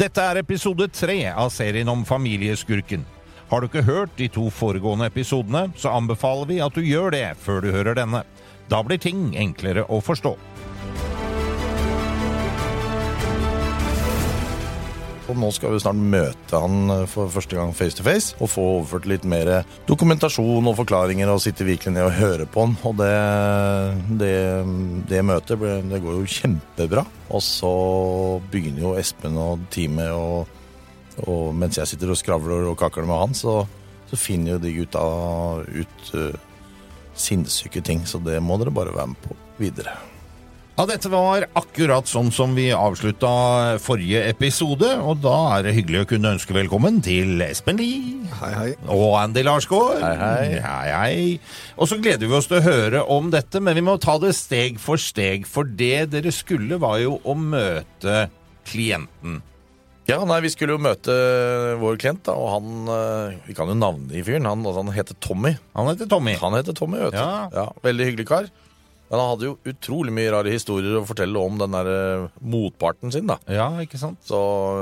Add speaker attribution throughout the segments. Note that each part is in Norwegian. Speaker 1: Dette er episode tre av serien om familieskurken. Har du ikke hørt de to foregående episodene, så anbefaler vi at du gjør det før du hører denne. Da blir ting enklere å forstå.
Speaker 2: Og nå skal vi snart møte han eh, for første gang face to face og få overført litt mer eh, dokumentasjon og forklaringer og sitte virkelig ned og høre på han. Og det, det, det møtet ble, det går jo kjempebra. Og så begynner jo Espen og teamet og, og mens jeg sitter og skravler og kakler med han, så, så finner jo de gutta ut eh, sinnssyke ting. Så det må dere bare være med på videre.
Speaker 1: Ja, dette var akkurat sånn som vi avslutta forrige episode, og da er det hyggelig å kunne ønske velkommen til Espen Lie.
Speaker 3: Hei, hei.
Speaker 1: Og Andy Larsgaard.
Speaker 2: Hei, hei.
Speaker 1: Hei, hei. Og så gleder vi oss til å høre om dette, men vi må ta det steg for steg. For det dere skulle, var jo å møte klienten.
Speaker 2: Ja, nei, Vi skulle jo møte vår klient, da, og han eh, Vi kan jo navngi fyren. Han, altså, han heter Tommy.
Speaker 1: Han heter Tommy.
Speaker 2: Han heter Tommy, vet du.
Speaker 1: Ja.
Speaker 2: veldig hyggelig kar. Men han hadde jo utrolig mye rare historier å fortelle om den der eh, motparten sin, da.
Speaker 1: Ja, ikke sant?
Speaker 2: Så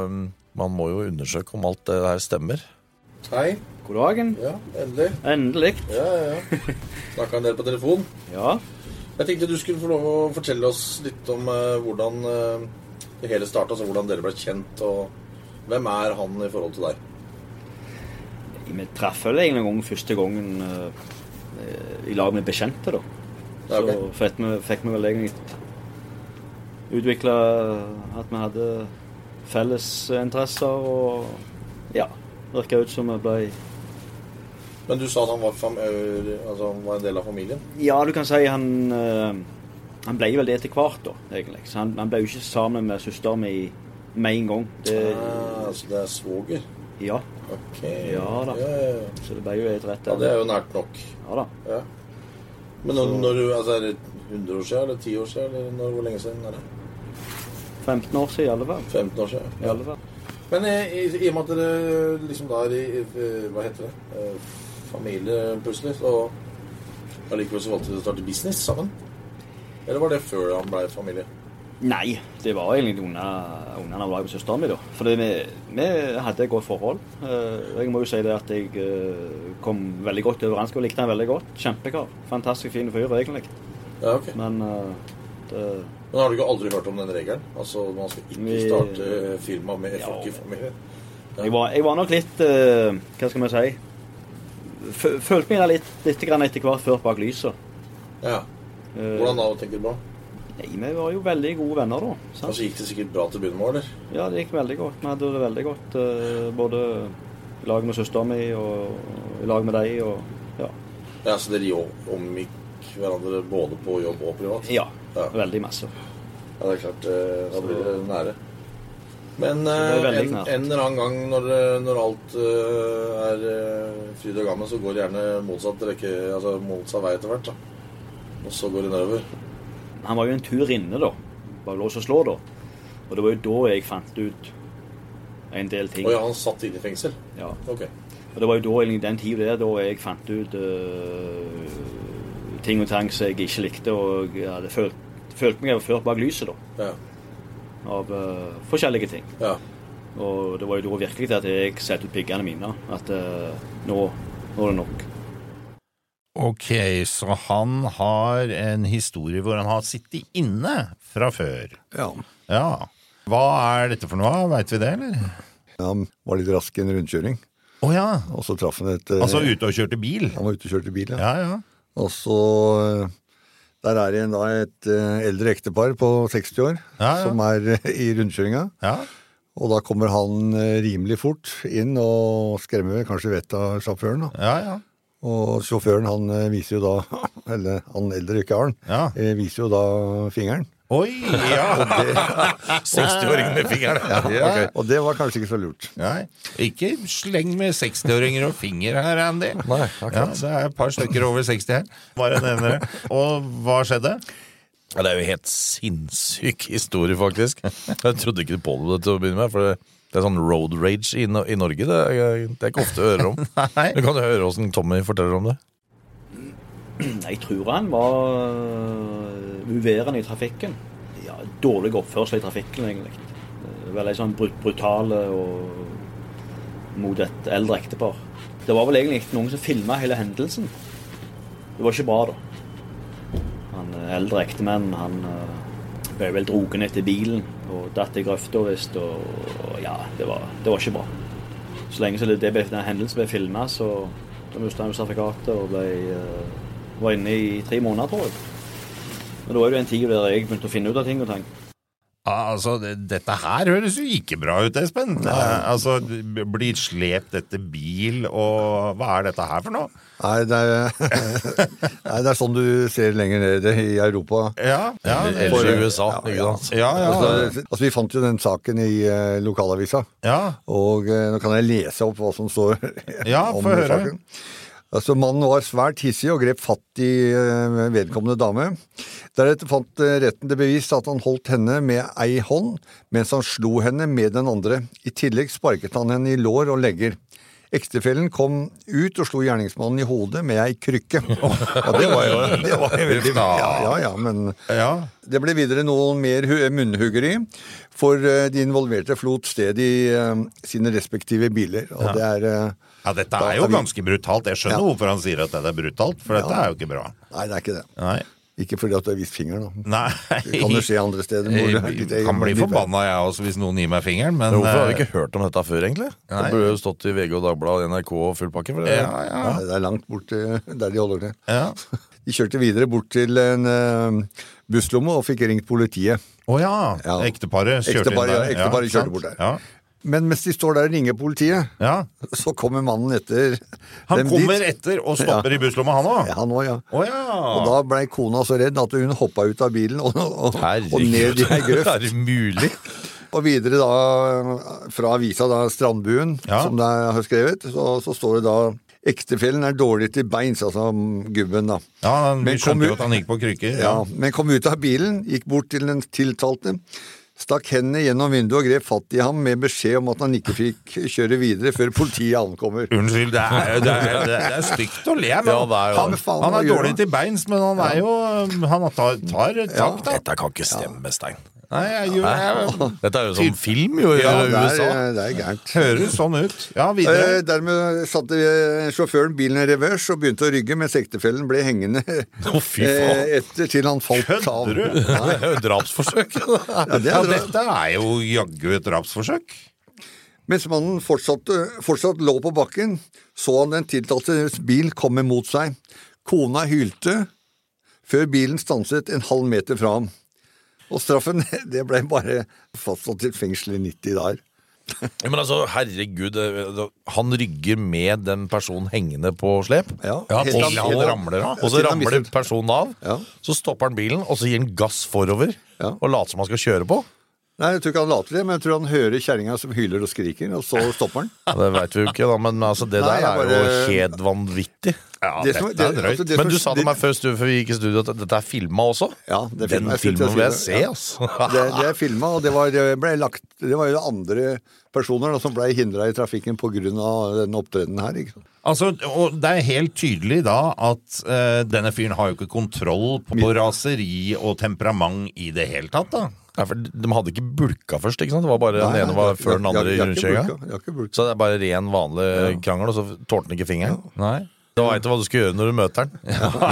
Speaker 2: um, man må jo undersøke om alt det der stemmer.
Speaker 4: Hei.
Speaker 3: God dagen.
Speaker 4: Ja, endelig.
Speaker 3: Endelig.
Speaker 4: Ja, ja, ja. Snakka en del på telefon.
Speaker 3: Ja.
Speaker 4: Jeg tenkte du skulle få lov å fortelle oss litt om eh, hvordan eh, det hele starta, altså hvordan dere ble kjent, og hvem er han i forhold til deg?
Speaker 3: Vi traff vel egentlig en gang første gangen eh, i lag med bekjente, da.
Speaker 4: Ja, ok.
Speaker 3: Så fikk vi, fikk vi vel egentlig utvikla at vi hadde felles interesser og ja. Virka ut som vi ble
Speaker 4: Men du sa at han var, fam ø, altså, han var en del av familien?
Speaker 3: Ja, du kan si han eh, Han ble vel det etter hvert, da, egentlig. Så han, han ble jo ikke sammen med søsteren min med en gang. Det,
Speaker 4: Ah, så det er svoger?
Speaker 3: ja.
Speaker 4: Ok.
Speaker 3: Ja da.
Speaker 4: Ja, ja, ja.
Speaker 3: Så det ble jo et rett
Speaker 4: ja, det er jo nært nok.
Speaker 3: Ja da.
Speaker 4: Ja. Men når, når du, altså, er det 100 år siden, eller 10 år siden, eller når, hvor lenge siden er det?
Speaker 3: 15 år siden i alle fall.
Speaker 4: 15 år siden?
Speaker 3: I alle fall.
Speaker 4: Men eh, i, i og med at dere liksom da er i, i eh, hva heter det eh, familie plutselig, så allikevel så valgte dere å starte business sammen? Eller var det før han ble familie?
Speaker 3: Nei, det var egentlig under ungene var med søsteren min, da. Fordi vi, vi hadde et godt forhold. Eh, Jeg må jo si det at jeg eh, kom veldig godt overens og likte han veldig godt. Kjempekar. Fantastisk fin fyr, egentlig.
Speaker 4: Ja, ok.
Speaker 3: Men eh, det
Speaker 4: Men har du ikke aldri hørt om den regelen? Altså, man skal ikke
Speaker 3: Vi-
Speaker 4: starte eh, firma med
Speaker 3: Ja.
Speaker 4: folk i familie?
Speaker 3: jeg var, jeg var nok litt eh, Hva skal vi si? Fø- Følte meg da litt, litt grann etter hvert før bak lyset.
Speaker 4: Ja.
Speaker 3: Eh,
Speaker 4: Hvordan da, tenker du på?
Speaker 3: Nei, Vi var jo veldig gode venner da. sant?
Speaker 4: Altså, gikk det sikkert bra til å begynne med, eller?
Speaker 3: Ja, det gikk veldig godt. Vi hadde det veldig godt. eh, Både i lag med søsteren min og i lag med deg og ja.
Speaker 4: Ja, så dere jo omgikk hverandre både på jobb og privat?
Speaker 3: Ja,
Speaker 4: Ja.
Speaker 3: veldig masse.
Speaker 4: Ja, det er klart. eh, Da
Speaker 3: Så-
Speaker 4: blir det nære. Men
Speaker 3: det er
Speaker 4: eh,
Speaker 3: veldig
Speaker 4: en,
Speaker 3: knært.
Speaker 4: en eller annen gang når, eh, når alt eh, er eh, fryd og gammen, så går det gjerne motsatt rekke, altså motsatt vei etter hvert. da. Og så går det nedover.
Speaker 3: Han var jo en tur inne, da. Bare lås og slå, da. Og det var jo da jeg fant ut en del ting.
Speaker 4: Og ja, han satt inne i fengsel.
Speaker 3: Ja.
Speaker 4: Ok.
Speaker 3: Og det var jo da egentlig den tida der da jeg fant ut eh, ting og tang som jeg ikke likte, og jeg hadde følt, følt meg overført bak lyset, da.
Speaker 4: Ja.
Speaker 3: Av eh, forskjellige ting.
Speaker 4: ja.
Speaker 3: Og det var jo da virkelig at jeg satte ut piggene mine. At eh, nå, nå er det nok.
Speaker 1: Ok, så han har en historie hvor han har sittet inne fra før.
Speaker 5: Ja.
Speaker 1: Ja. Hva er dette for noe? Veit vi det, eller?
Speaker 5: Han var litt rask i en rundkjøring,
Speaker 1: Å ja.
Speaker 5: og så traff han et eh,
Speaker 1: Altså ute og kjørte bil?
Speaker 5: Han var ute og kjørte bil, ja.
Speaker 1: Ja, ja.
Speaker 5: Og så eh, Der er det en- da et eh, eldre ektepar på 60 år
Speaker 1: Ja, ja.
Speaker 5: som er eh, i rundkjøringa.
Speaker 1: ja.
Speaker 5: Og da kommer han eh, rimelig fort inn og skremmer vel kanskje vettet av sjåføren. da.
Speaker 1: Ja, ja.
Speaker 5: Og sjåføren han eh, viser jo da, eller han eldre ikke har den,
Speaker 1: Ja.
Speaker 5: eh, viser jo da fingeren.
Speaker 2: Oi! Ja. 60-åring med fingeren.
Speaker 5: Ja,
Speaker 2: ok.
Speaker 5: Og det var kanskje ikke så lurt.
Speaker 2: Nei.
Speaker 1: Ikke sleng med 60-åringer og finger her, Andy.
Speaker 2: Nei,
Speaker 1: ja,
Speaker 2: akkurat.
Speaker 1: det er et par stykker over 60 her. Bare nevner det. Og hva skjedde?
Speaker 2: Ja, det er jo en helt sinnssyk historie, faktisk. Jeg trodde ikke på det til å begynne med. For det det er sånn road rage i, No- i Norge. Det er, det er ikke ofte jeg hører om.
Speaker 1: Nei.
Speaker 2: Du kan jo høre åssen Tommy forteller om det.
Speaker 3: Jeg tror han var øh, uværende i trafikken. Ja, dårlig oppførsel i trafikken, egentlig. Eh, Veldig sånn brut brutale og mot et eldre ektepar. Det var vel egentlig ikke noen som filma hele hendelsen. Det var ikke bra, da. Han eh, eldre ektemannen, han eh, ble vel drogen etter bilen og datt i grøfta, visst, og og ja, det var, det var ikke bra. Så lenge som det, det ble, den hendelsen ble filma, så da mista han jo sertifikatet og ble, eh, var inne i tre måneder, tror jeg. Men da er det jo en tid der jeg begynte å finne ut av ting og ting.
Speaker 1: Ah, Altså, det- Dette her høres jo ikke bra ut, Espen. Eh, Altså, b- Blir slept etter bil, og hva er dette her for noe?
Speaker 5: Nei, det er, nei, det er sånn du ser lenger nede i Europa.
Speaker 1: Ja, ja,
Speaker 2: Eller i USA.
Speaker 5: Ja,
Speaker 2: ikke
Speaker 5: ja.
Speaker 2: sant?
Speaker 1: ja, ja,
Speaker 5: Altså, altså, vi fant jo den saken i eh, lokalavisa.
Speaker 1: ja.
Speaker 5: Og eh, nå kan jeg lese opp hva som står
Speaker 1: Ja,
Speaker 5: om
Speaker 1: få høre.
Speaker 5: saken. Altså, Mannen var svært hissig og grep fatt i eh, vedkommende dame. Deretter fant eh, retten det bevis at han holdt henne med ei hånd mens han slo henne med den andre. I tillegg sparket han henne i lår og legger. Ektefellen kom ut og slo gjerningsmannen i hodet med ei krykke. Ja, det var jo det var jo veldig Ja, ja, ja, men
Speaker 1: ja.
Speaker 5: det ble videre noe mer hu- munnhuggeri, for eh, de involverte forlot stedet i eh, sine respektive biler. Og det er eh,
Speaker 1: Ja, dette
Speaker 5: Da
Speaker 1: er jo
Speaker 5: er vi-
Speaker 1: ganske brutalt. Jeg skjønner
Speaker 5: Ja.
Speaker 1: hvorfor han sier at det er brutalt, for dette er jo ikke bra.
Speaker 5: Nei, det er ikke det.
Speaker 1: Nei.
Speaker 5: Ikke fordi at du har vist fingeren, da.
Speaker 1: Nei.
Speaker 5: Det kan jo skje andre steder. hvor det er
Speaker 1: Jeg
Speaker 5: litt egen-
Speaker 1: kan bli
Speaker 5: litt-
Speaker 1: forbanna jeg også hvis noen gir meg fingeren, men
Speaker 2: Hvorfor har vi
Speaker 1: eh,
Speaker 2: ikke hørt om dette før, egentlig? Det
Speaker 1: Nei.
Speaker 2: burde jo stått i VG og Dagbladet, NRK og full pakke. For det.
Speaker 1: Ja, ja.
Speaker 5: Nei, det er langt bort eh, der de holder til.
Speaker 1: Ja.
Speaker 5: De kjørte videre bort til en eh, busslomme og fikk ringt politiet.
Speaker 1: Å ja.
Speaker 5: Ja.
Speaker 1: Ekteparet kjørte inn
Speaker 5: Ekteparet-
Speaker 1: der.
Speaker 5: ja, ekteparet
Speaker 1: ikke
Speaker 5: kjørte bort
Speaker 1: sant?
Speaker 5: der. Men mens de står der og ringer politiet,
Speaker 1: Ja. ja.
Speaker 5: så kommer mannen etter
Speaker 1: Han
Speaker 5: dem
Speaker 1: kommer
Speaker 5: dit.
Speaker 1: etter og stopper i busslomma, han òg.
Speaker 5: Ja, nå, ja.
Speaker 1: Å ja.
Speaker 5: Og da blei kona så redd at hun hoppa ut av bilen og, og, og ned
Speaker 2: Herregud,
Speaker 5: i ei grøft.
Speaker 2: er det mulig?
Speaker 5: Og videre da fra avisa da Strandbuen,
Speaker 1: Ja.
Speaker 5: som det har skrevet, så, så står det da Ektefellen er dårlig til beins, altså gubben, da.
Speaker 1: ja han, vi
Speaker 5: Men kom
Speaker 1: skjønte
Speaker 5: ut-
Speaker 1: jo at han gikk på krykker.
Speaker 5: Ja, men kom ut av bilen, gikk bort til den tiltalte, stakk hendene gjennom vinduet og grep fatt i ham med beskjed om at han ikke fikk kjøre videre før politiet ankommer.
Speaker 1: Unnskyld, det er, det, er, det er stygt å le, men
Speaker 2: Ja, det er jo
Speaker 1: han,
Speaker 2: det.
Speaker 5: Faen,
Speaker 1: han
Speaker 5: hva
Speaker 1: er
Speaker 5: gjør
Speaker 1: dårlig
Speaker 5: han?
Speaker 1: til beins, men han er jo um, Han tar, tar tak, da.
Speaker 2: Dette kan ikke stemme, Stein.
Speaker 1: Nei, jeg, gjør- jeg,
Speaker 2: Dette er jo som film jo, i
Speaker 1: Ja, det
Speaker 5: Det er,
Speaker 2: USA.
Speaker 5: det er gærent.
Speaker 1: høres sånn ut. Ja,
Speaker 5: Eh,
Speaker 1: videre.
Speaker 5: dermed satte eh, sjåføren bilen i revers og begynte å rygge, mens ektefellen ble hengende
Speaker 2: Å, fy faen.
Speaker 5: eh, etter til han falt av.
Speaker 1: Kødder du?
Speaker 2: Det er jo drapsforsøk.
Speaker 5: Ja, det
Speaker 1: Ja,
Speaker 5: er bra.
Speaker 1: dette er jo jaggu et drapsforsøk.
Speaker 5: Mens mannen fortsatte, fortsatt lå på bakken, så han den tiltaltes bil komme mot seg. Kona hylte før bilen stanset en halv meter fra ham. Og straffen det ble bare fastsatt til fengsel i 90 dager.
Speaker 2: Ja, men altså, herregud, eh, han rygger med den personen hengende på slep.
Speaker 5: Ja,
Speaker 2: og
Speaker 5: helt av-
Speaker 2: så-
Speaker 5: helt av-
Speaker 2: ramler av.
Speaker 5: Ja,
Speaker 2: Og så
Speaker 5: til han
Speaker 2: ramler
Speaker 5: mistet-
Speaker 2: personen av.
Speaker 5: Ja.
Speaker 2: Så stopper han bilen, og så gir han gass forover.
Speaker 5: Ja.
Speaker 2: Og later som han skal kjøre på.
Speaker 5: Nei, Jeg tror ikke han later det, men jeg tror han hører kjerringa som hyler og skriker, og så stopper han.
Speaker 2: Ja, Det veit vi jo ikke, da, men altså, det
Speaker 5: Nei,
Speaker 2: der
Speaker 5: jeg
Speaker 2: er jo
Speaker 5: bare-
Speaker 2: helt vanvittig.
Speaker 1: Ja,
Speaker 5: Det som-
Speaker 1: dette er
Speaker 5: det-
Speaker 1: drøyt.
Speaker 5: altså, det
Speaker 2: Men
Speaker 5: som-
Speaker 2: du sa til
Speaker 5: det-
Speaker 2: meg før, stu- før vi gikk i studio, at dette er filma også.
Speaker 5: Ja, det er
Speaker 2: den
Speaker 5: filmet. Jeg synes
Speaker 2: filmen vil jeg se,
Speaker 5: det er
Speaker 2: altså.
Speaker 5: Det, det er filma, og det var, det, ble lagt, det var jo andre personer da, som ble hindra i trafikken pga. den opptredenen her. Ikke sant?
Speaker 1: Altså, og det er helt tydelig da at eh, denne fyren har jo ikke kontroll på raseri og temperament i det hele tatt, da.
Speaker 2: Nei, for de hadde ikke bulka først, ikke sant? Det var bare
Speaker 5: Nei,
Speaker 2: Den
Speaker 5: nei,
Speaker 2: ene var
Speaker 5: jeg-
Speaker 2: før den
Speaker 5: jeg-
Speaker 2: andre i
Speaker 5: jeg- jeg har ikke
Speaker 2: rundkjøringa.
Speaker 5: bulka, jeg har ikke bulka.
Speaker 2: Så det er bare ren, vanlig krangel, og så tålte han ikke fingeren.
Speaker 1: Nei.
Speaker 2: Da veit du hva du skal gjøre når du møter den.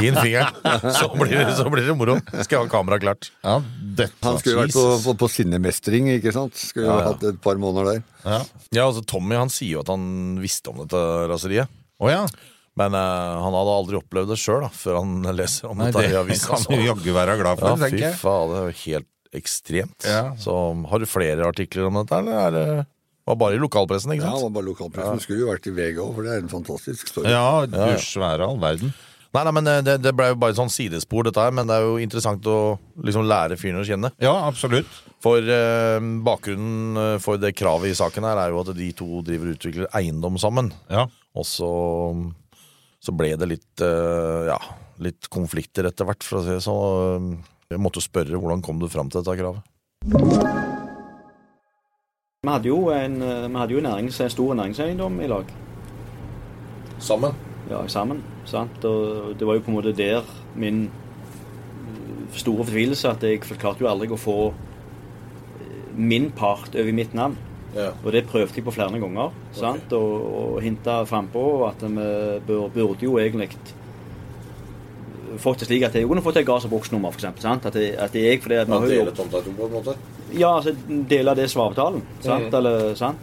Speaker 2: Gi den fingeren, så blir, det- så blir det moro. Skal jeg ha kameraet klart.
Speaker 1: Ja, dette
Speaker 5: Han skulle vært på, på, på sinnemestring, ikke sant? Skulle
Speaker 2: Ja, ja.
Speaker 5: hatt et par måneder der.
Speaker 1: Å ja.
Speaker 2: Ja, altså Tommy han sier jo at han visste om dette raseriet.
Speaker 1: Å ja.
Speaker 2: Men eh, han hadde aldri opplevd det sjøl før han leser om
Speaker 1: Nei,
Speaker 2: dette
Speaker 1: det
Speaker 2: i avisa.
Speaker 1: kan
Speaker 2: så-
Speaker 1: du jaggu være glad
Speaker 2: altså- Ja,
Speaker 1: for,
Speaker 2: fy
Speaker 1: tenker jeg.
Speaker 2: faen, det er jo helt ekstremt.
Speaker 1: Ja.
Speaker 2: Så um, har du flere artikler om dette, eller er det var bare i lokalpressen? ikke
Speaker 5: Ja,
Speaker 2: sant?
Speaker 5: han var bare lokalpressen. Skulle jo vært i VG òg, for det er en fantastisk story.
Speaker 1: Ja, du svære all verden.
Speaker 2: Nei, nei, men eh, det, det ble jo bare sånn sidespor, dette her, men det er jo interessant å liksom lære fyren å kjenne.
Speaker 1: Ja, absolutt.
Speaker 2: For eh, bakgrunnen eh, for det kravet i saken her er jo at de to driver og utvikler eiendom sammen.
Speaker 1: Ja.
Speaker 2: Og så, så ble det litt, eh, ja, litt konflikter etter hvert, for å si det sånn. Og, eh, Jeg måtte spørre hvordan kom du fram til dette kravet.
Speaker 3: Vi hadde jo en, eh, vi hadde jo en, nærings, en stor næringseiendom i lag,
Speaker 4: Sammen.
Speaker 3: ja, sammen. Sant? Og det var jo på en måte der min eh, store fortvilelse at jeg klarte jo aldri å få eh, min part over mitt navn.
Speaker 4: Ja.
Speaker 3: Og det prøvde jeg på flere ganger. Sant? Og, og hinta frampå at vi bør, burde jo egentlig fått det slik at jeg kunne fått et gards- og bruksnummer, f.eks. At, jeg- at jeg, fordi at vi
Speaker 4: Man
Speaker 3: har jo
Speaker 4: deler tomta to, på en måte.
Speaker 3: ja, altså deler det svaravtalen, sant?
Speaker 4: Mhm.
Speaker 3: Eller, sant?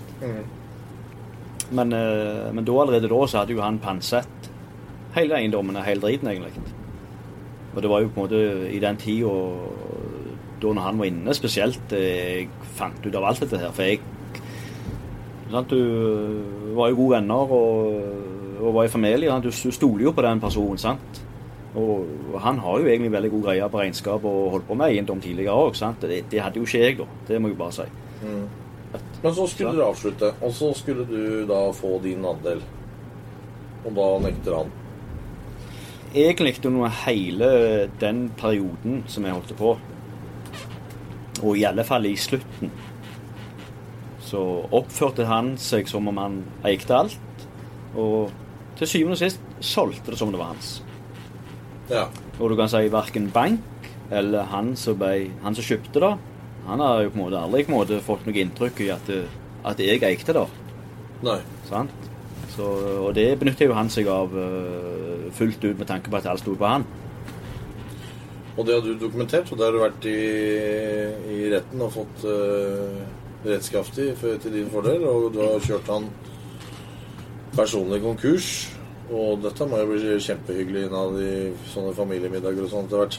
Speaker 3: Men, eh, men da allerede da så hadde jo han pansett hele eiendommen og hele driten, egentlig. Og det var jo på en måte i den tida da når han var inne spesielt, eh, jeg fant ut av alt dette her. For jeg sant? Du eh, var jo gode venner og, og var i familie. Sant? Du stoler jo på den personen, sant? Og han har jo egentlig veldig god greie på regnskap og holdt på med eiendom tidligere òg. Det, det hadde jo ikke jeg, da. Det må jeg bare si.
Speaker 4: Men så skulle dere avslutte, og så skulle du da få din andel. Og da nekter han.
Speaker 3: Egentlig under hele den perioden som jeg holdt på, og i alle fall i slutten, så oppførte han seg som om han eide alt, og til syvende og sist solgte det som det var hans.
Speaker 4: Ja.
Speaker 3: Og du kan si verken bank eller han som, ble, han som kjøpte det. Han har jo på en måte aldri på en måte fått noe inntrykk i at, det- at jeg eide det.
Speaker 4: Nei.
Speaker 3: Sant? Så, og det benytter jo han seg av eh, fullt ut med tanke på at alt sto på han.
Speaker 4: Og det har du dokumentert, og det har du vært i, i retten og fått eh, rettskraftig for, til din fordel. Og du har kjørt han personlig konkurs. Og dette må jo bli kjempehyggelig innad i sånne familiemiddager og sånn etter hvert.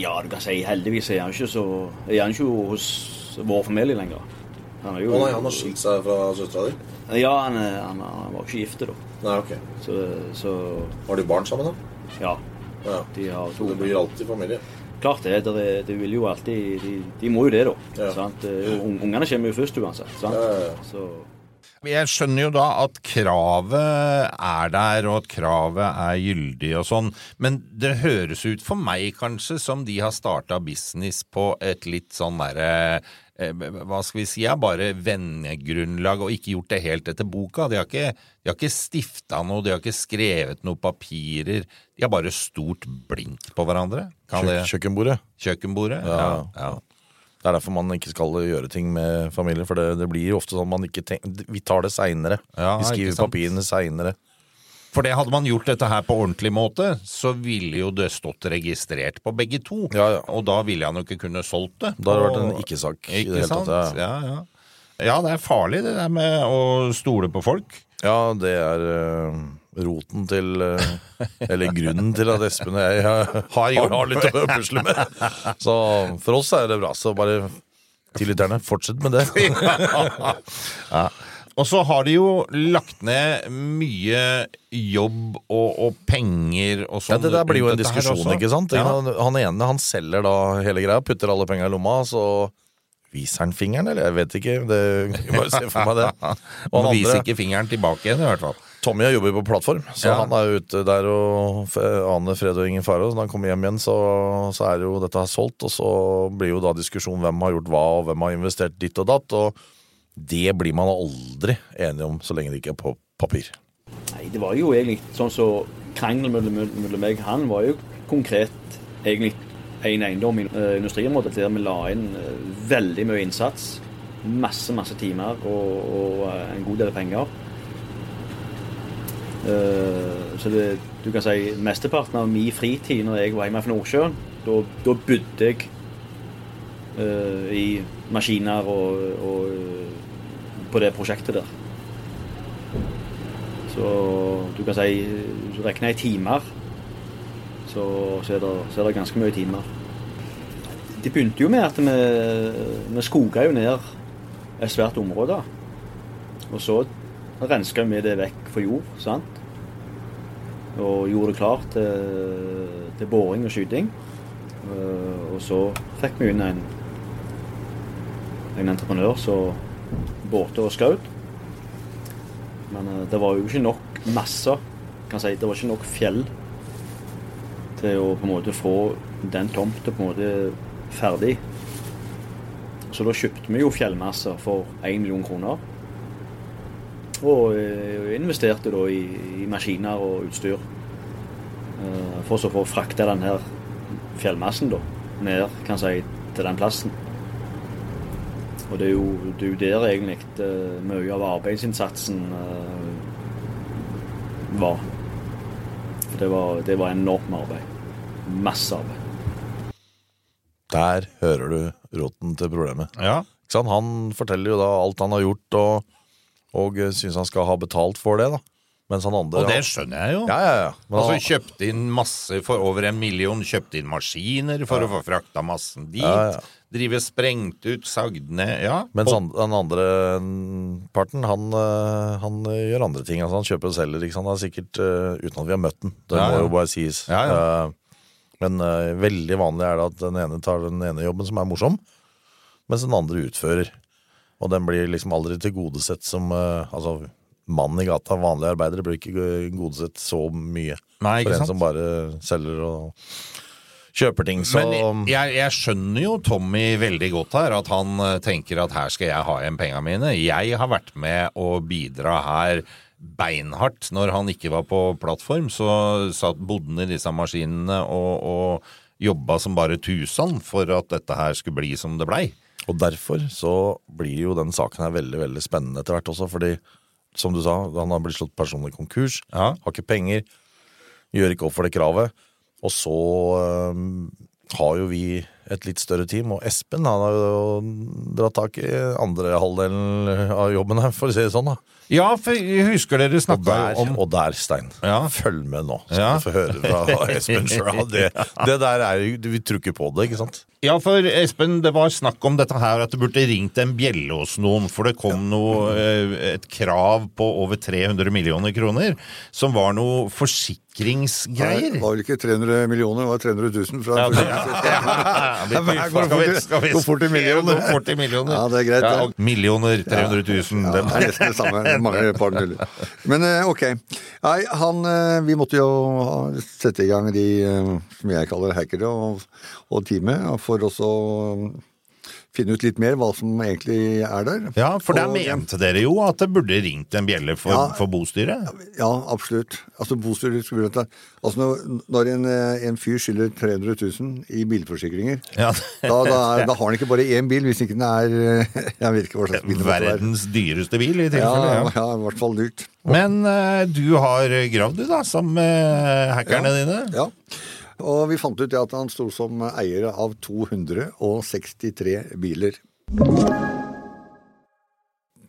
Speaker 3: Ja, du kan si heldigvis er han ikke så Er han ikke hos vår familie lenger. Han er jo
Speaker 4: Å nei, han har skilt seg fra søstera di?
Speaker 3: Ja, han, er- han, er- han var jo ikke gifte, da.
Speaker 4: Nei, ok.
Speaker 3: Så, så
Speaker 4: Har de barn sammen, da?
Speaker 3: ja.
Speaker 4: Ja.
Speaker 3: De har to.
Speaker 4: Det blir alltid familie.
Speaker 3: Klart det. Det, er- det vil jo alltid De, de må jo det, da.
Speaker 4: Ja.
Speaker 3: Sant? Det er jo- un- Ungene kommer jo først uansett. Sant?
Speaker 4: Ja, ja, ja.
Speaker 3: Så
Speaker 1: Jeg skjønner jo da at kravet er der, og at kravet er gyldig og sånn, men det høres ut for meg kanskje som de har starta business på et litt sånn derre eh, Hva skal vi si er bare vennegrunnlag, og ikke gjort det helt etter boka. De har ikke, de har ikke stifta noe, de har ikke skrevet noen papirer. De har bare stort blink på hverandre. Kan det
Speaker 2: Kjøk kjøkkenbordet.
Speaker 1: Kjøkkenbordet?
Speaker 2: Ja.
Speaker 1: ja.
Speaker 2: Det er derfor man ikke skal gjøre ting med familie, for det, det blir jo ofte sånn man ikke tenker Vi tar det seinere.
Speaker 1: Ja,
Speaker 2: vi
Speaker 1: ikke
Speaker 2: skriver
Speaker 1: sant.
Speaker 2: papirene seinere.
Speaker 1: For det hadde man gjort dette her på ordentlig måte, så ville jo det stått registrert på begge to.
Speaker 2: Ja, ja.
Speaker 1: Og da ville han jo ikke kunne solgt det.
Speaker 2: Da hadde det vært
Speaker 1: Og-
Speaker 2: en ikke-sak. i
Speaker 1: Ikke
Speaker 2: det hele
Speaker 1: sant?
Speaker 2: tatt, ja.
Speaker 1: ja. Ja, ja, det er farlig det der med å stole på folk.
Speaker 2: ja, det er eh, roten til eh, Eller grunnen til at Espen og jeg har, har,
Speaker 1: jobb.
Speaker 2: har litt å pusle med. Så for oss er det bra. Så bare til lytterne, fortsett med det.
Speaker 1: ja. Og så har de jo lagt ned mye jobb og, og penger og
Speaker 2: Ja,
Speaker 1: sånn.
Speaker 2: det der blir jo en
Speaker 1: rundt dette her
Speaker 2: diskusjon,
Speaker 1: også.
Speaker 2: ikke sant?
Speaker 1: Ja.
Speaker 2: Han, han ene han selger da hele greia, putter alle penga i lomma, så viser han fingeren, eller? Jeg vet ikke. Det, jeg bare ser for meg det. Og
Speaker 1: Han
Speaker 2: han
Speaker 1: viser
Speaker 2: andre,
Speaker 1: ikke fingeren tilbake igjen, i hvert fall.
Speaker 2: Tommy har jobber på plattform, så
Speaker 1: Ja.
Speaker 2: han er jo ute der og f- aner fred og ingen fare. og Så når han kommer hjem igjen, så, så er jo dette her solgt, og så blir jo da diskusjon hvem har gjort hva, og hvem har investert ditt og datt. og det blir man aldri enige om så lenge det ikke er på papir.
Speaker 3: Nei, det var jo egentlig sånn som så krangelen mellom, mellom meg og han var jo konkret egentlig en eiendom i eh, industriområdet der vi la inn eh, veldig mye innsats. Masse, masse timer og, og eh, en god del penger. Eh, så det, du kan si mesteparten av min fritid når jeg var hjemme fra Nordsjøen, da da bodde jeg eh, i maskiner og, og eh, på det prosjektet der. Så du kan si Hvis du regner i timer, så, så, er det, så er det ganske mye timer. Det begynte jo med at vi, vi skoga jo ned et svært område. Og så renska vi det vekk for jord, sant. og gjorde det klart til, til boring og skyting. Eh, Og så fikk vi inn en, en entreprenør som båte og skaut. Men eh, det var jo ikke nok masser, kan jeg si. Det var ikke nok fjell til å på en måte få den tomta på en måte ferdig. Så da kjøpte vi jo fjellmasser for 1 million kroner. Og eh, investerte da i, i maskiner og utstyr. eh, For så å få frakta den her fjellmassen da, ned kan jeg si, til den plassen. Og det er jo, det er jo der egentlig eh, mye av arbeidsinnsatsen eh, var. For det var, det var enormt med arbeid. Masse arbeid.
Speaker 2: Der hører du roten til problemet.
Speaker 1: Ja.
Speaker 2: Ikke sant? Han forteller jo da alt han har gjort, og, og eh, synes han skal ha betalt for det. da. Mens han andre
Speaker 1: Og det skjønner jeg jo.
Speaker 2: Ja, ja, ja. Men
Speaker 1: Altså
Speaker 2: han-
Speaker 1: Kjøpte inn masse for over en million, kjøpte inn maskiner for å få frakta massen dit.
Speaker 2: Ja, ja.
Speaker 1: Drive sprengt ut, sagd ned Ja.
Speaker 2: Mens
Speaker 1: på-
Speaker 2: han, den andre parten, han, eh, han eh, gjør andre ting. Altså, han kjøper og selger, ikke sant. Det er sikkert eh, uten at vi har møtt den. Det
Speaker 1: Ja, ja.
Speaker 2: må jo bare sies.
Speaker 1: Ja, ja.
Speaker 2: Eh, men eh, veldig vanlig er det at den ene tar den ene jobben som er morsom, mens den andre utfører. Og den blir liksom aldri tilgodesett som eh, Altså, mannen i gata, vanlige arbeidere, blir ikke eh, godesett så mye.
Speaker 1: Nei, ikke sant?
Speaker 2: For en som bare selger og kjøper ting.
Speaker 1: sånn
Speaker 2: Så
Speaker 1: Men jeg, jeg skjønner jo Tommy veldig godt her, at han eh, tenker at her skal jeg ha igjen penga mine. Jeg har vært med å bidra her beinhardt. Når han ikke var på plattform, så satt bodde han i disse maskinene og, og jobba som bare tusan for at dette her skulle bli som det blei.
Speaker 2: Og derfor så blir jo den saken her veldig, veldig spennende etter hvert også, fordi som du sa, han har blitt slått personlig konkurs,
Speaker 1: Ja.
Speaker 2: har ikke penger, gjør ikke opp for det kravet, og så øhm, har jo vi et litt større team, og Espen han har jo dratt tak i andre halvdelen av jobben her, for å si det sånn da.
Speaker 1: Ja, for jeg husker dere
Speaker 2: Og
Speaker 1: snakka
Speaker 2: der,
Speaker 1: om
Speaker 2: og der Stein,
Speaker 1: Ja.
Speaker 2: følg med nå, så
Speaker 1: Ja.
Speaker 2: du får høre fra Espen selv. Det, det der er jo, vi tror ikke på det, ikke sant?
Speaker 1: Ja, for Espen, det var snakk om dette her, at du burde ringt en bjelle hos noen, for det kom noe,
Speaker 5: Mm.
Speaker 1: eh, et krav på over 300 millioner kroner, som var noe forsikringsgreier.
Speaker 5: Det var vel ikke 300 millioner, det var 300 000 fra
Speaker 1: Ja, det-
Speaker 5: Ja, men her går det fort i- går fort i millioner.
Speaker 1: Går fort i millioner.
Speaker 5: Ja, det er greit, det.
Speaker 1: og millioner, 300 000.
Speaker 5: Ja, det er nesten det samme. det er Mange par nuller. Men eh, ok. Nei, han eh, Vi måtte jo ha- sette i gang de eh, som jeg kaller hackere og, og teamet, for også å finne ut litt mer hva som egentlig er der.
Speaker 1: Ja, for der
Speaker 5: Og-
Speaker 1: mente dere jo at det burde ringt en bjelle for,
Speaker 5: Ja.
Speaker 1: for bostyret.
Speaker 5: Ja, absolutt. Altså, bostyret skulle begynt der. Altså, når, når en, eh, en fyr skylder 300 000 i bilforsikringer,
Speaker 1: Ja.
Speaker 5: da, da, er- da har han ikke bare én bil, hvis ikke den er eh, Jeg vet ikke hva slags bil det måtte være.
Speaker 1: Verdens dyreste bil, i
Speaker 5: Ja,
Speaker 1: tilfelle.
Speaker 5: ja,
Speaker 1: Ja.
Speaker 5: i hvert fall dyrt.
Speaker 1: Men eh, du har gravd, du, da, som eh, hackerne dine.
Speaker 5: Ja. Og vi fant ut det at han sto som eier av 263 biler.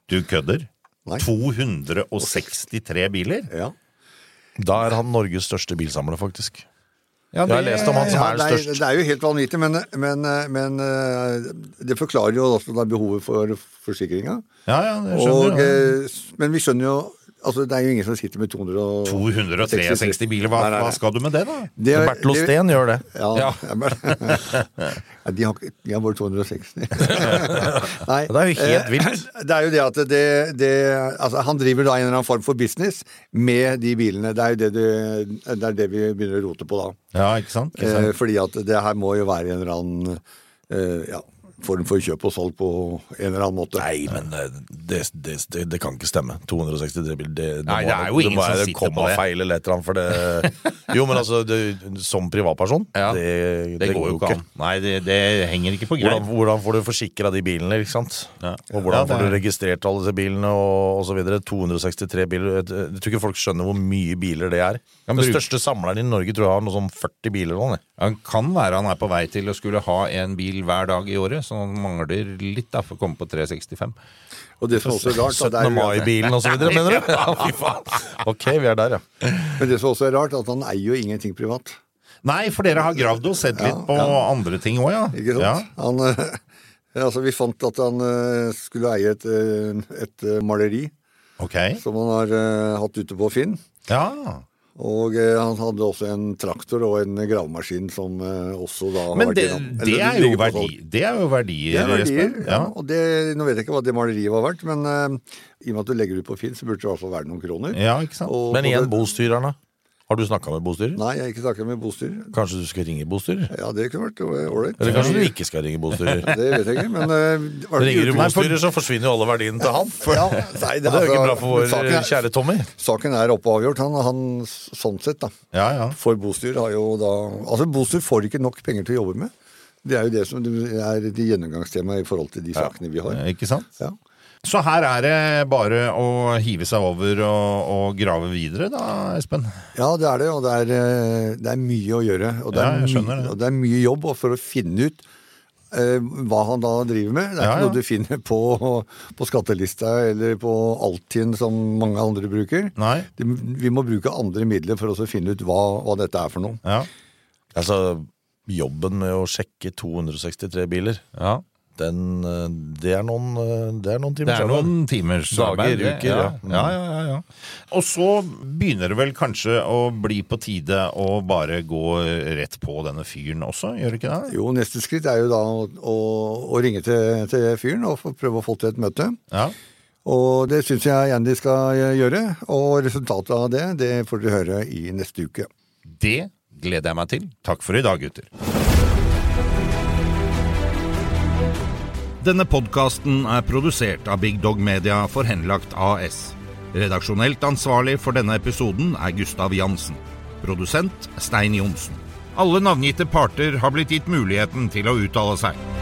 Speaker 1: Du kødder?
Speaker 5: Nei.
Speaker 1: 263 biler?
Speaker 5: Ja.
Speaker 2: Da er han Norges største bilsamler, faktisk.
Speaker 1: Ja,
Speaker 2: Jeg har lest om han som
Speaker 5: Ja,
Speaker 2: er
Speaker 5: det, er,
Speaker 2: størst.
Speaker 5: det er jo helt vanvittig, men, men, men eh, det forklarer jo også da behovet for forsikringa.
Speaker 1: Ja, ja, det skjønner
Speaker 5: Og,
Speaker 1: jeg.
Speaker 5: eh, s- men vi skjønner jo Altså, Det er jo ingen som sitter med 200 og...
Speaker 1: 263 biler, hva,
Speaker 5: eh, Nei, nei, nei.
Speaker 1: hva skal du med det, da?
Speaker 5: Det er-
Speaker 2: Bertil
Speaker 5: det-
Speaker 2: Osten gjør det.
Speaker 5: Ja,
Speaker 1: Ja.
Speaker 5: ja, men- Nei, de, har, ikke- de har bare 260. Nei,
Speaker 2: Det er jo helt
Speaker 5: eh,
Speaker 2: vilt.
Speaker 5: Det er jo det at det, det altså, Han driver da en eller annen form for business med de bilene. Det er jo det, det, det, er det vi begynner å rote på da.
Speaker 1: Ja, ikke sant? Ikke
Speaker 5: Eh,
Speaker 1: sant?
Speaker 5: fordi at det her må jo være en eller annen eh, ja, form for kjøp og salg på en eller annen måte.
Speaker 2: Nei, men eh, det, det, det, det kan ikke stemme. 263 bil, det, det,
Speaker 1: Nei,
Speaker 2: må
Speaker 1: det er jo ingen som
Speaker 2: være
Speaker 1: sitter på
Speaker 2: kommafeil eller et eller annet, for det Jo, men altså, det, som privatperson,
Speaker 1: Ja.
Speaker 2: eh, det,
Speaker 1: Det, går jo ikke an. Nei, det, det henger ikke på
Speaker 2: Hvordan,
Speaker 1: greip.
Speaker 2: hvordan får du forsikra de bilene, ikke sant?
Speaker 1: Ja.
Speaker 2: Og
Speaker 1: Ja,
Speaker 2: hvordan
Speaker 1: det
Speaker 2: får
Speaker 1: er-
Speaker 2: du registrert alle disse bilene og osv.? 263 biler. Jeg jeg tror ikke folk skjønner hvor mye biler det er.
Speaker 1: Kan
Speaker 2: Den
Speaker 1: bruke-
Speaker 2: største samleren i Norge tror jeg har noe sånn 40 biler nå. jeg.
Speaker 1: Han kan være han er på vei til å skulle ha en bil hver dag i året, så han mangler litt da for å komme på 365.
Speaker 5: Og det som også er rart,
Speaker 2: 17.
Speaker 5: da, det er jo at-
Speaker 2: mai-bilen osv., mener du? Ja, fy faen. Ok, vi er der, ja.
Speaker 5: men det som også er rart, at han eier jo ingenting privat.
Speaker 1: Nei, for dere har gravd og sett litt på andre ting òg, ja.
Speaker 5: Ikke sant?
Speaker 1: ja.
Speaker 5: Han, eh, altså, vi fant at han eh, skulle eie et, eh, et eh, maleri
Speaker 1: Ok.
Speaker 5: som han har eh, hatt ute på Finn.
Speaker 1: Ja.
Speaker 5: Og eh, han hadde også en traktor og en gravemaskin som eh, også da har
Speaker 1: Men
Speaker 5: vært
Speaker 1: det,
Speaker 5: innom-
Speaker 1: det, er
Speaker 5: eller ligger
Speaker 1: jo
Speaker 5: på
Speaker 1: verdi,
Speaker 5: salg.
Speaker 1: det er jo verdier,
Speaker 5: Det er verdier,
Speaker 1: Espen.
Speaker 5: ja. Og det, nå vet jeg ikke hva det maleriet var verdt, men eh, i og med at du legger ut på Finn, så burde det i hvert fall være noen kroner.
Speaker 1: Ja, ikke sant?
Speaker 5: Og
Speaker 2: Men
Speaker 5: på
Speaker 2: igjen,
Speaker 5: det-
Speaker 2: bostyreren, da? Har du snakka med bostyrer?
Speaker 5: Nei, jeg har ikke snakket med bostyrer.
Speaker 2: Kanskje du skal ringe bostyrer?
Speaker 5: Ja, det kunne vært eh, ålreit.
Speaker 2: Eller kanskje du ikke skal ringe bostyrer?
Speaker 5: Det vet jeg ikke, men eh, var det
Speaker 2: Ringer du
Speaker 5: ikke-
Speaker 2: bostyrer, så forsvinner jo alle verdiene til han.
Speaker 5: Ja, nei,
Speaker 2: Og det er jo ikke
Speaker 5: altså,
Speaker 2: bra for vår
Speaker 5: saken er-
Speaker 2: eh, kjære Tommy.
Speaker 5: Saken er oppe og avgjort, han, han sånn sett, da.
Speaker 1: Ja, ja.
Speaker 5: For bostyr har jo da Altså, bostyr får ikke nok penger til å jobbe med. Det er jo det som er de gjennomgangstemaet i forhold til de sakene vi har.
Speaker 1: Ikke sant?
Speaker 5: Ja.
Speaker 1: Så her er det bare å hive seg over og, og grave videre, da, Espen.
Speaker 5: ja, det er det, og det er, eh, det er mye å gjøre. Og det
Speaker 1: Ja,
Speaker 5: er,
Speaker 1: jeg skjønner
Speaker 5: mye-
Speaker 1: det.
Speaker 5: Og det er mye jobb og for å finne ut eh, hva han da driver med. Det er
Speaker 1: Ja,
Speaker 5: ikke
Speaker 1: ja.
Speaker 5: noe du finner på, på skattelista eller på Altinn som mange andre bruker.
Speaker 1: Nei?
Speaker 5: Det- Vi må bruke andre midler for å finne ut hva, hva dette er for noe.
Speaker 1: Ja.
Speaker 2: Altså, jobben med å sjekke 263 biler,
Speaker 1: ja.
Speaker 2: den, eh, det, er noen, eh, det er noen
Speaker 1: Det
Speaker 2: timer
Speaker 1: er
Speaker 2: arbeid.
Speaker 1: noen timers
Speaker 2: Dager,
Speaker 1: arbeid, det.
Speaker 2: uker,
Speaker 1: ja.
Speaker 2: ja.
Speaker 1: Ja, ja, ja, ja. Og så begynner det vel kanskje å bli på tide å bare gå rett på denne fyren også, gjør det ikke det?
Speaker 5: Jo, neste skritt er jo da å, å, å ringe til, til fyren og få- prøve å få til et møte.
Speaker 1: Ja.
Speaker 5: Og det syns jeg gjerne de skal gjøre. Og resultatet av det, det får dere høre i neste uke.
Speaker 1: Det gleder jeg meg til. Takk for i dag, gutter. Denne podkasten er produsert av Big Dog Media for Henlagt AS. Redaksjonelt ansvarlig for denne episoden er Gustav Jansen. Produsent Stein Johnsen. Alle navngitte parter har blitt gitt muligheten til å uttale seg.